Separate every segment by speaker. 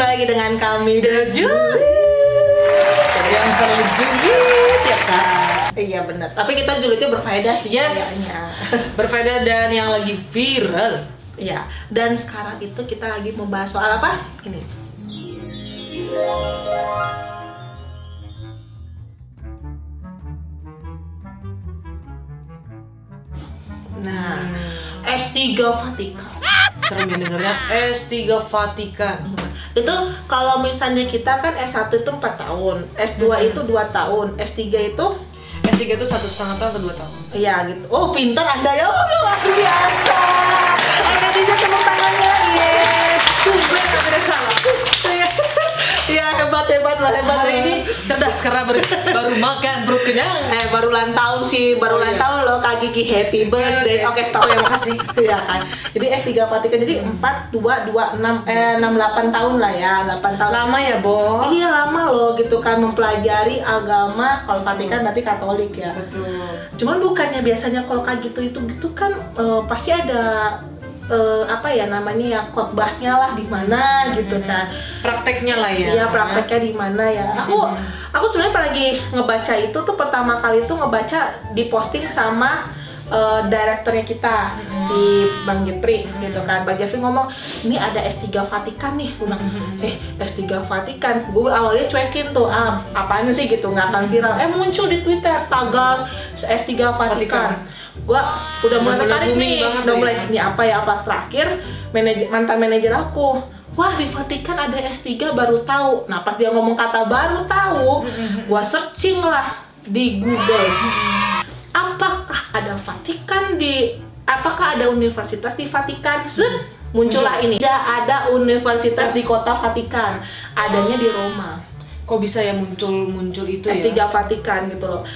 Speaker 1: lagi dengan kami The
Speaker 2: Jadi yang terjadi ya kan.
Speaker 1: Iya benar. Tapi kita julidnya berfaedah sih
Speaker 2: Yes.
Speaker 1: kayaknya.
Speaker 2: Berbeda dan yang lagi viral.
Speaker 1: Iya. Dan sekarang itu kita lagi membahas soal apa? Ini. Nah, S3 Vatikan.
Speaker 2: Serem ya dengernya S3 Vatikan.
Speaker 1: itu kalau misalnya kita kan S1 itu 4 tahun, S2 itu 2 tahun, S3 itu
Speaker 2: S3 itu satu setengah tahun atau dua tahun?
Speaker 1: ya gitu. Oh, pintar Anda ya. Oh, luar biasa. Anda bisa tepuk tangannya. Yes.
Speaker 2: Tumben tapi ada salah.
Speaker 1: ya hebat hebat lah hebat
Speaker 2: Hari ini cerdas karena baru, baru makan perut kenyang.
Speaker 1: eh baru ulang tahun sih, baru
Speaker 2: Oh,
Speaker 1: ulang
Speaker 2: iya.
Speaker 1: tahun loh Kak Gigi happy birthday. Oke,
Speaker 2: Oke.
Speaker 1: stop ya makasih. Iya kan. Jadi S3 Vatikan jadi 4 2 2 6 eh 6 8 tahun lah ya, 8 tahun.
Speaker 2: Lama ya, Bo?
Speaker 1: Iya lama loh gitu kan mempelajari agama kalau Vatikan berarti Katolik ya.
Speaker 2: Betul.
Speaker 1: Cuman bukannya biasanya kalau kayak gitu itu gitu kan eh, pasti ada eh, apa ya namanya ya khotbahnya lah di mana gitu kan.
Speaker 2: Prakteknya lah ya.
Speaker 1: Iya prakteknya di mana ya? Aku aku sebenarnya pas lagi ngebaca itu tuh pertama kali tuh ngebaca di posting sama eh, direkturnya kita si Bang Jepri gitu kan. Bang Jepri ngomong ini ada S3 Vatikan nih, Gua bilang eh S3 Vatikan. Gue awalnya cuekin tuh, ah apaan sih gitu nggak akan viral. Eh muncul di Twitter tagar S3
Speaker 2: Vatikan.
Speaker 1: Vatikan. Gua udah mulai
Speaker 2: Udah mulai
Speaker 1: tertarik
Speaker 2: booming
Speaker 1: nih,
Speaker 2: banget
Speaker 1: udah
Speaker 2: ya.
Speaker 1: mulai ini apa ya apa terakhir manajer mantan manajer aku wah di Vatikan ada S3 baru tahu nah pas dia ngomong kata baru tahu gua searching lah di Google apakah ada Vatikan di apakah ada universitas di Vatikan Zut, muncullah ini tidak ada universitas di kota Vatikan adanya di Roma
Speaker 2: Kok bisa ya muncul-muncul itu
Speaker 1: S3
Speaker 2: ya?
Speaker 1: Vatikan gitu loh.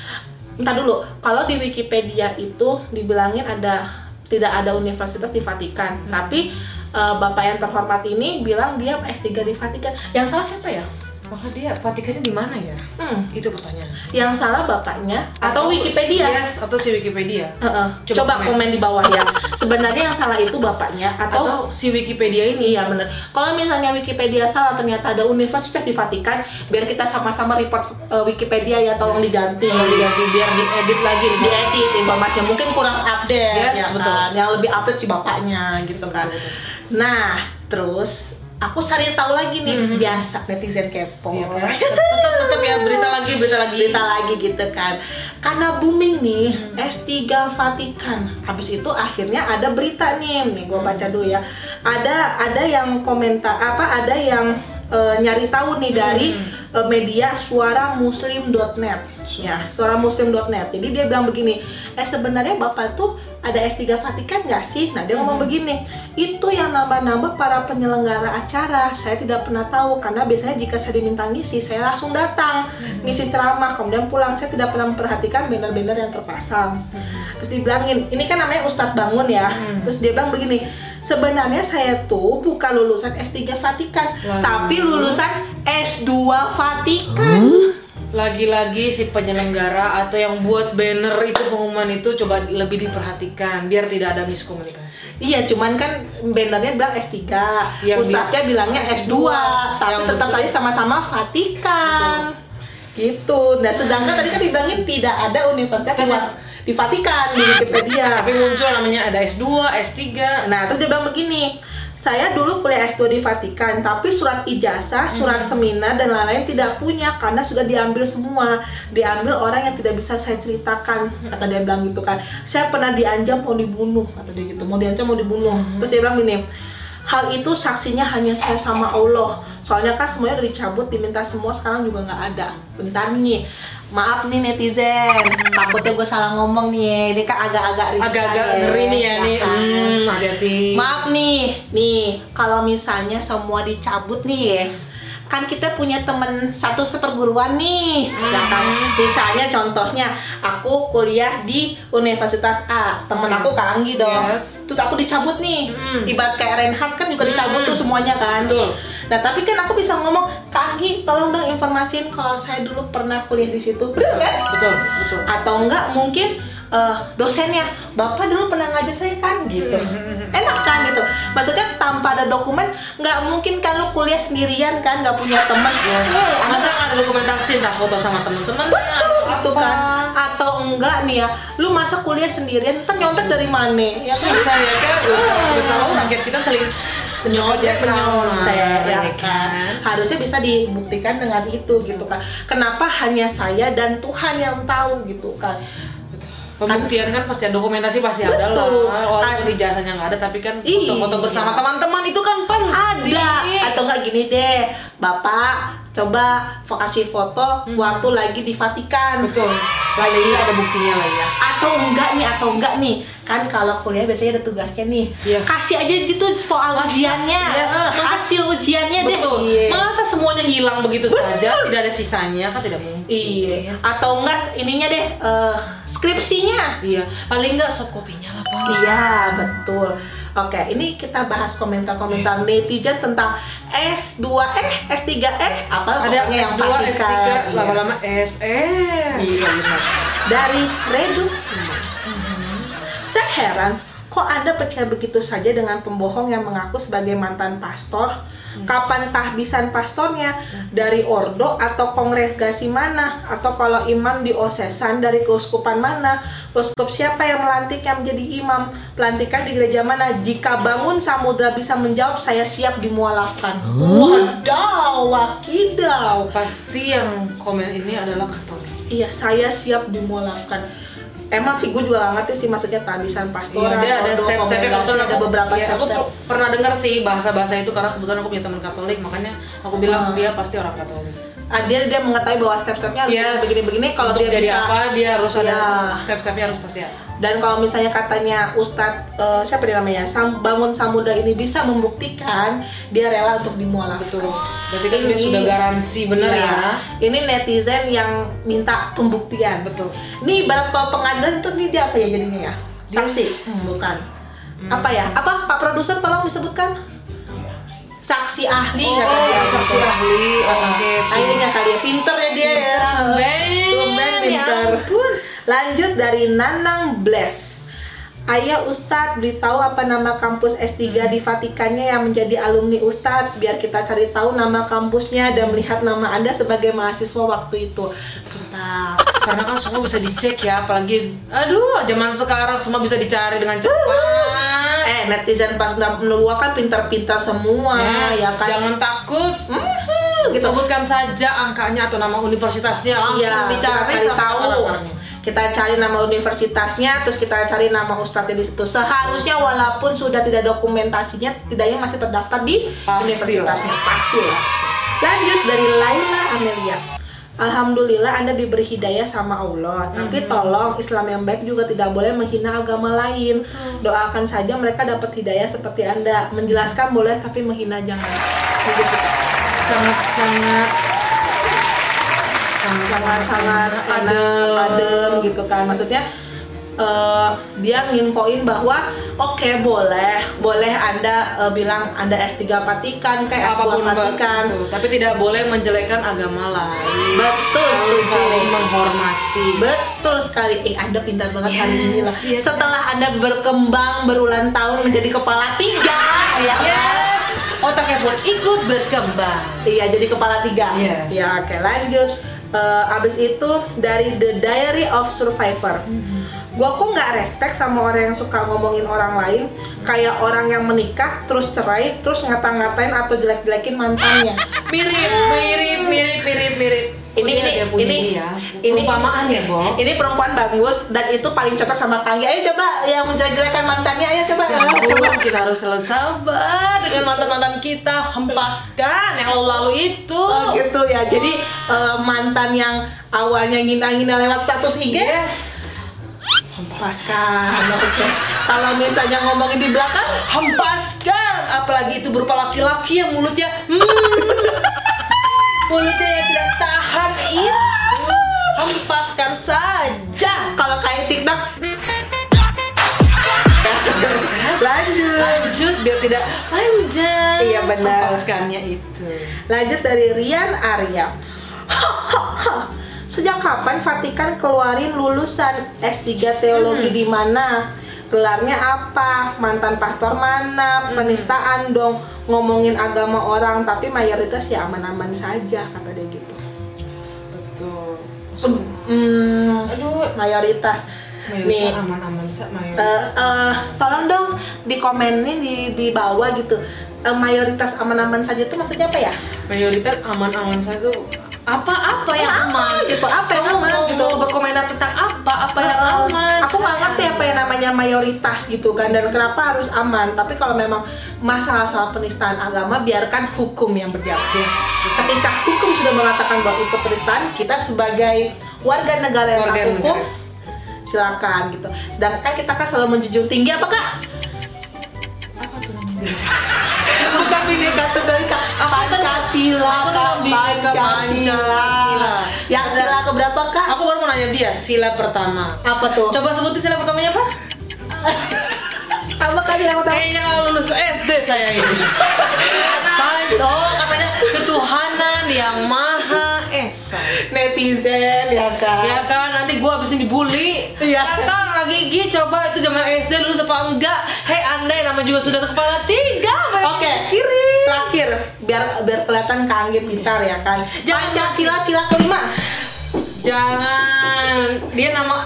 Speaker 1: Entar dulu, kalau di Wikipedia itu dibilangin ada tidak ada universitas di Vatikan,
Speaker 2: Hmm.
Speaker 1: tapi eh, bapak yang terhormat ini bilang dia S3 di Vatikan. Yang salah siapa ya?
Speaker 2: Maka dia Vatikannya di mana ya?
Speaker 1: Hmm,
Speaker 2: Itu pertanyaan.
Speaker 1: yang salah bapaknya atau Wikipedia?
Speaker 2: Yes, atau si Wikipedia.
Speaker 1: Heeh.
Speaker 2: Coba
Speaker 1: Coba,
Speaker 2: komen.
Speaker 1: komen di bawah ya. Sebenarnya yang salah itu bapaknya atau
Speaker 2: Atau si Wikipedia ini
Speaker 1: Iya bener. Kalau misalnya Wikipedia salah ternyata ada universitas di Vatikan, biar kita sama-sama report eh, Wikipedia ya tolong diganti.
Speaker 2: tinggal diganti biar diedit lagi
Speaker 1: di edit informasinya mungkin kurang update
Speaker 2: Yes,
Speaker 1: ya
Speaker 2: betul.
Speaker 1: kan? yang lebih update si bapaknya gitu kan
Speaker 2: Betul,
Speaker 1: nah terus aku cari tahu lagi nih
Speaker 2: Mhm.
Speaker 1: biasa netizen kepo
Speaker 2: Iya, kan? tetap tetap ya berita lagi berita lagi
Speaker 1: berita lagi gitu kan karena booming nih S3 Vatikan habis itu akhirnya ada berita nih nih gua baca dulu ya ada ada yang komentar apa ada yang eh, nyari tahu nih dari eh, media suaramuslim.net ya suaramuslim.net jadi dia bilang begini eh sebenarnya bapak tuh ada S3 Vatikan nggak sih? Nah dia ngomong begini, itu yang nambah-nambah para penyelenggara acara. Saya tidak pernah tahu karena biasanya jika saya diminta ngisi, saya langsung datang ngisi ceramah kemudian pulang. Saya tidak pernah memperhatikan banner-banner yang terpasang. Terus dibilangin, ini kan namanya Ustadz Bangun ya. Terus dia bilang begini, sebenarnya saya tuh bukan lulusan S3 Vatikan,
Speaker 2: Waduh.
Speaker 1: tapi lulusan S2 Vatikan.
Speaker 2: lagi-lagi si penyelenggara atau yang buat banner itu pengumuman itu coba lebih diperhatikan biar tidak ada miskomunikasi
Speaker 1: Iya, cuman kan bannernya bilang S3,
Speaker 2: Yang
Speaker 1: ustadznya
Speaker 2: di-
Speaker 1: bilangnya S2,
Speaker 2: S2,
Speaker 1: tapi
Speaker 2: yang
Speaker 1: tetap
Speaker 2: betul.
Speaker 1: aja sama-sama Vatikan. Gitu. Nah, sedangkan tadi kan dibilangin tidak ada universitas di,
Speaker 2: Ustaz.
Speaker 1: di Vatikan di Wikipedia.
Speaker 2: tapi muncul namanya ada S2, S3
Speaker 1: Nah, terus dia bilang begini, saya dulu kuliah S2 di Vatikan, tapi surat ijazah, surat
Speaker 2: Hmm.
Speaker 1: seminar, dan lain-lain tidak punya karena sudah diambil semua. Diambil orang yang tidak bisa saya ceritakan, kata dia bilang gitu kan. Saya pernah diancam mau dibunuh, kata dia gitu. Mau diancam mau dibunuh.
Speaker 2: Hmm.
Speaker 1: Terus dia bilang gini, hal itu saksinya hanya saya sama Allah. Soalnya kan semuanya udah dicabut, diminta semua, sekarang juga nggak ada. Bentar nih, maaf nih netizen, takutnya gue salah ngomong nih. Ini kan agak-agak riskan
Speaker 2: agak-agak
Speaker 1: ya,
Speaker 2: ngeri nih ya nih
Speaker 1: kan?
Speaker 2: hmm, hati-hati
Speaker 1: Maaf nih, nih kalau misalnya semua dicabut nih ya kan kita punya temen satu seperguruan nih ya kan?
Speaker 2: Hmm.
Speaker 1: misalnya contohnya aku kuliah di Universitas A temen
Speaker 2: Hmm.
Speaker 1: aku Kak Anggi dong
Speaker 2: Yes.
Speaker 1: terus aku dicabut nih
Speaker 2: Hmm.
Speaker 1: ibarat kayak Reinhardt kan juga dicabut
Speaker 2: Hmm.
Speaker 1: tuh semuanya kan
Speaker 2: Betul.
Speaker 1: nah tapi kan aku bisa ngomong Kak Anggi tolong dong informasiin kalau saya dulu pernah kuliah di situ bener kan
Speaker 2: betul betul
Speaker 1: atau enggak mungkin eh, dosennya bapak dulu pernah ngajar saya kan gitu enak kan gitu maksudnya tam tanpa ada dokumen nggak mungkin kan lu kuliah sendirian kan nggak punya temen
Speaker 2: Iya.
Speaker 1: Eh, anak
Speaker 2: masa nggak ada dokumentasi entah foto sama temen-temen
Speaker 1: betul gitu kan atau enggak nih ya lu masa kuliah sendirian ntar nyontek dari mana ya kan
Speaker 2: susah ya kan udah udah tahu target kita seling
Speaker 1: nyontek nyontek ya kan
Speaker 2: kan
Speaker 1: harusnya bisa dibuktikan dengan itu gitu kan kenapa hanya saya dan Tuhan yang tahu gitu kan
Speaker 2: pembuktian kan pasti ada dokumentasi pasti ada lah
Speaker 1: Betul.
Speaker 2: walaupun
Speaker 1: Kan-
Speaker 2: di jasanya nggak ada tapi kan
Speaker 1: Iya.
Speaker 2: foto-foto bersama teman-teman itu kan penting
Speaker 1: ada atau enggak gini deh bapak coba vokasi foto
Speaker 2: Hmm.
Speaker 1: waktu lagi di Vatikan
Speaker 2: betul
Speaker 1: iya,
Speaker 2: lagi ada buktinya lah ya
Speaker 1: atau enggak nih atau enggak nih kan kalau kuliah biasanya ada tugasnya nih
Speaker 2: Iya.
Speaker 1: kasih aja gitu soal
Speaker 2: Masa-
Speaker 1: ujiannya
Speaker 2: Yes.
Speaker 1: Eh, hasil ujiannya
Speaker 2: betul
Speaker 1: deh Iya.
Speaker 2: masa semuanya hilang begitu saja tidak ada sisanya kan tidak mungkin
Speaker 1: Iya. Atau enggak ininya deh eh, skripsinya.
Speaker 2: iya paling nggak sop kopinya lah pak
Speaker 1: Iya, betul. Oke, ini kita bahas
Speaker 2: Iya.
Speaker 1: komentar-komentar netizen tentang S2 eh S3 eh apa
Speaker 2: ada
Speaker 1: pokoknya
Speaker 2: S2, S3,
Speaker 1: Vatikan. Iya.
Speaker 2: lama-lama SS
Speaker 1: Iya, Mm-hmm. benar. Dari Redus. Saya heran kok Anda percaya begitu saja dengan pembohong yang mengaku sebagai mantan pastor? Kapan tahbisan pastornya? Dari ordo atau kongregasi mana? Atau kalau imam di osesan dari keuskupan mana? Uskup siapa yang melantik yang menjadi imam? Pelantikan di gereja mana? Jika bangun samudra bisa menjawab, saya siap dimualafkan. Wadaw, wakidaw.
Speaker 2: pasti yang komen ini adalah Katolik
Speaker 1: Iya, saya siap dimolafkan. Emang sih gue juga gak ngerti sih maksudnya tahbisan pastoral,
Speaker 2: Iya, dia ada
Speaker 1: ordo,
Speaker 2: step-stepnya
Speaker 1: kongregasi,
Speaker 2: kebetulan
Speaker 1: ada
Speaker 2: aku-
Speaker 1: beberapa
Speaker 2: iya, aku
Speaker 1: step-step.
Speaker 2: per- pernah dengar sih bahasa-bahasa itu karena kebetulan aku punya teman Katolik, makanya aku bilang
Speaker 1: Hmm.
Speaker 2: dia pasti orang Katolik.
Speaker 1: Ah, dia dia mengetahui bahwa step-stepnya harus
Speaker 2: Yes.
Speaker 1: begini-begini kalau
Speaker 2: Untuk
Speaker 1: dia
Speaker 2: jadi
Speaker 1: bisa.
Speaker 2: apa dia harus ada
Speaker 1: Iya.
Speaker 2: step-stepnya harus pasti ada.
Speaker 1: Dan kalau misalnya katanya Ustadz eh, siapa dia namanya? Sam, bangun Samuda ini bisa membuktikan dia rela untuk dimualafkan.
Speaker 2: Betul. Berarti kan dia
Speaker 1: Ini-
Speaker 2: sudah garansi bener
Speaker 1: Iya.
Speaker 2: ya.
Speaker 1: Ini netizen yang minta pembuktian.
Speaker 2: Betul.
Speaker 1: Nih ibarat kalau pengadilan itu nih dia apa ya jadinya ya?
Speaker 2: Dia- Hmm.
Speaker 1: Saksi, bukan. Apa ya? Apa Pak produser tolong disebutkan? Saksi ahli
Speaker 2: Oh,
Speaker 1: kata Iya, kan dia. Iya.
Speaker 2: saksi ahli. Oke.
Speaker 1: Akhirnya kali ya pinter ya dia ya.
Speaker 2: Tumben,
Speaker 1: Tumben
Speaker 2: ya
Speaker 1: pinter.
Speaker 2: ampun.
Speaker 1: Lanjut dari Nanang Bless. Ayah Ustadz beritahu apa nama kampus S3
Speaker 2: Hmm.
Speaker 1: di Vatikannya yang menjadi alumni Ustadz biar kita cari tahu nama kampusnya dan melihat nama Anda sebagai mahasiswa waktu itu. Mantap.
Speaker 2: Karena kan semua bisa dicek ya, apalagi aduh zaman sekarang semua bisa dicari dengan cepat.
Speaker 1: Eh netizen pas udah menua kan pintar-pintar semua
Speaker 2: Yes,
Speaker 1: ya kan.
Speaker 2: Jangan takut.
Speaker 1: Mhm, gitu.
Speaker 2: Sebutkan saja angkanya atau nama universitasnya langsung
Speaker 1: Iya,
Speaker 2: dicari
Speaker 1: kita cari
Speaker 2: sama
Speaker 1: tahu.
Speaker 2: orang-orangnya.
Speaker 1: Kita cari nama universitasnya, terus kita cari nama ustadznya di situ. Seharusnya walaupun sudah tidak dokumentasinya, tidaknya masih terdaftar di
Speaker 2: Pasti
Speaker 1: universitasnya. Pasti lah. Lanjut dari Laila Amelia. Alhamdulillah Anda diberi hidayah sama Allah
Speaker 2: Hmm.
Speaker 1: Tapi tolong Islam yang baik juga tidak boleh menghina agama lain Doakan saja mereka dapat hidayah seperti Anda Menjelaskan boleh tapi menghina jangan Begitu.
Speaker 2: sangat sangat
Speaker 1: sangat-sangat
Speaker 2: Adem.
Speaker 1: adem. adem gitu kan maksudnya eh, dia nginfoin bahwa oke boleh boleh anda eh, bilang anda S3 Vatikan kayak
Speaker 2: Eh, apapun
Speaker 1: S2 Vatikan
Speaker 2: betul. tapi tidak boleh menjelekkan agama lain
Speaker 1: betul
Speaker 2: Harus
Speaker 1: setuju.
Speaker 2: saling menghormati
Speaker 1: Betul sekali. Eh, Anda pintar banget hari
Speaker 2: Yes,
Speaker 1: ini lah.
Speaker 2: yes.
Speaker 1: Setelah Anda berkembang berulang tahun menjadi kepala tiga, ya kan?
Speaker 2: yes otaknya pun ikut berkembang
Speaker 1: Iya jadi kepala tiga.
Speaker 2: Yes.
Speaker 1: Ya oke lanjut. Eh, abis itu dari The Diary of Survivor.
Speaker 2: Mm-hmm.
Speaker 1: Gua kok nggak respect sama orang yang suka ngomongin orang lain, kayak orang yang menikah terus cerai terus ngata-ngatain atau jelek-jelekin mantannya.
Speaker 2: mirip mirip mirip mirip mirip
Speaker 1: Ini
Speaker 2: Punya
Speaker 1: ini
Speaker 2: dia punya
Speaker 1: ini
Speaker 2: dia.
Speaker 1: ini
Speaker 2: perumpamaan ya Bo
Speaker 1: Ini perempuan bagus dan itu paling cocok sama Kanggi. Ayo coba yang menjelek-jelekan mantannya, ayo coba.
Speaker 2: Ya
Speaker 1: ayo coba.
Speaker 2: ampun, kita harus selalu sabar dengan mantan-mantan kita hempaskan yang lalu-lalu itu
Speaker 1: Oh, gitu ya. Jadi eh, mantan yang awalnya ngina-ngina lewat status IG
Speaker 2: yes hempas
Speaker 1: Pasca. Oke. Kalau misalnya ngomongin di belakang,
Speaker 2: hempaskan apalagi itu berupa laki-laki yang mulutnya hmm, mulutnya yang tidak tahan
Speaker 1: iya.
Speaker 2: itu hempaskan saja
Speaker 1: kalau kayak TikTok. Lanjut.
Speaker 2: lanjut biar tidak panjang
Speaker 1: Iya, benar.
Speaker 2: hempaskannya itu
Speaker 1: Lanjut dari Rian Arya. Sejak kapan Vatikan keluarin lulusan S3 teologi di mana? gelarnya apa mantan pastor mana penistaan dong ngomongin agama orang tapi mayoritas ya aman-aman saja kata dia gitu
Speaker 2: betul
Speaker 1: Hmm,
Speaker 2: aduh
Speaker 1: mayoritas
Speaker 2: nih
Speaker 1: nih
Speaker 2: aman-aman sa mayoritas
Speaker 1: eh, eh, tolong dong dikomenin di di bawah gitu Eh, mayoritas aman-aman saja itu maksudnya apa ya
Speaker 2: mayoritas aman-aman saja tuh apa-apa yang aman
Speaker 1: gitu apa yang
Speaker 2: kamu
Speaker 1: aman
Speaker 2: mau,
Speaker 1: gitu Eh,
Speaker 2: mau berkomentar tentang apa apa yang aman
Speaker 1: Aku nggak ngerti apa yang namanya mayoritas gitu kan dan kenapa harus aman. Tapi kalau memang masalah soal penistaan agama biarkan hukum yang berjawab. Ketika hukum sudah mengatakan bahwa itu penistaan, kita sebagai warga negara yang
Speaker 2: Warga
Speaker 1: taat
Speaker 2: negara.
Speaker 1: hukum silakan gitu. Sedangkan kita kan selalu menjunjung tinggi apa kak?
Speaker 2: apa tuh namanya?
Speaker 1: Bukan bineka tunggal ika, Pancasila, Kak,
Speaker 2: aku tenang Bhinneka
Speaker 1: Pancasila.
Speaker 2: Pancasila.
Speaker 1: Yang sila keberapa kak?
Speaker 2: aku baru mau nanya dia sila pertama
Speaker 1: Apa tuh?
Speaker 2: coba sebutin sila pertamanya apa
Speaker 1: Apa kali yang utama?
Speaker 2: kayaknya kalau lulus SD saya ini Pan- oh katanya ketuhanan yang maha esa
Speaker 1: Netizen ya kak.
Speaker 2: ya kan nanti gua abisin dibully
Speaker 1: Iya.
Speaker 2: kakak lagi gigi coba itu zaman SD lulus apa enggak hei andai nama juga sudah kepala tiga banyak
Speaker 1: Oke,
Speaker 2: yang kiri
Speaker 1: Terakhir, biar biar kelihatan kangen pintar ya kan.
Speaker 2: Jangan
Speaker 1: Pancasila sila kelima.
Speaker 2: jangan dia nama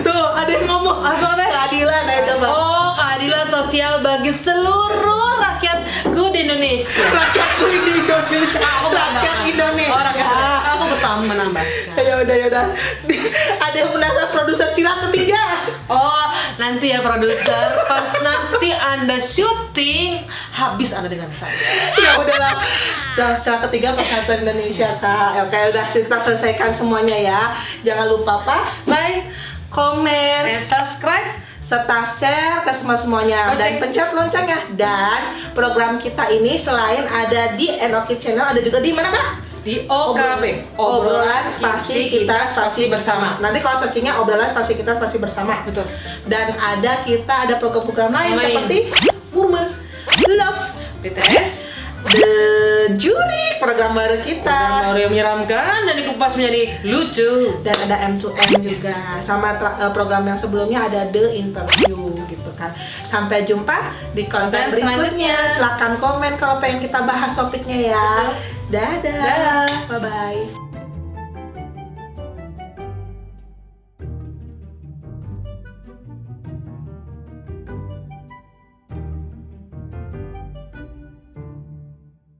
Speaker 1: Tuh, ada yang ngomong apa teh? Keadilan ayo coba.
Speaker 2: oh keadilan sosial bagi seluruh rakyatku di Indonesia
Speaker 1: Rakyatku ini Indonesia.
Speaker 2: aku
Speaker 1: Rakyat
Speaker 2: menambahkan.
Speaker 1: Indonesia.
Speaker 2: oh, rakyat Indonesia. aku bertambah menambahkan
Speaker 1: Ya udah ya udah. ada yang penasaran produser sila ketiga.
Speaker 2: Oh, nanti ya produser, pas nanti Anda syuting, habis Anda dengan saya.
Speaker 1: ya udahlah. Nah, sila ketiga persatuan Indonesia kak. Oke udah kita selesaikan semuanya ya. Jangan lupa apa?
Speaker 2: Like,
Speaker 1: Komen,
Speaker 2: and subscribe.
Speaker 1: serta share ke semua semuanya dan
Speaker 2: Lonceng.
Speaker 1: pencet loncengnya dan program kita ini selain ada di Enoki Channel ada juga di mana kak?
Speaker 2: di OKB Iya,
Speaker 1: obrolan spasi kita spasi bersama nanti kalau searchingnya obrolan spasi kita spasi bersama
Speaker 2: betul
Speaker 1: dan ada kita ada program-program lain
Speaker 2: Lain.
Speaker 1: seperti Murmur Love
Speaker 2: BTS
Speaker 1: The Jury program baru kita
Speaker 2: baru yang menyeramkan dan dikupas menjadi lucu
Speaker 1: dan ada M2M juga sama tra- eh, program yang sebelumnya ada The Interview gitu kan sampai jumpa di konten
Speaker 2: Konten selanjutnya.
Speaker 1: berikutnya silahkan komen kalau pengen kita bahas topiknya ya dadah
Speaker 2: Dadah.
Speaker 1: bye bye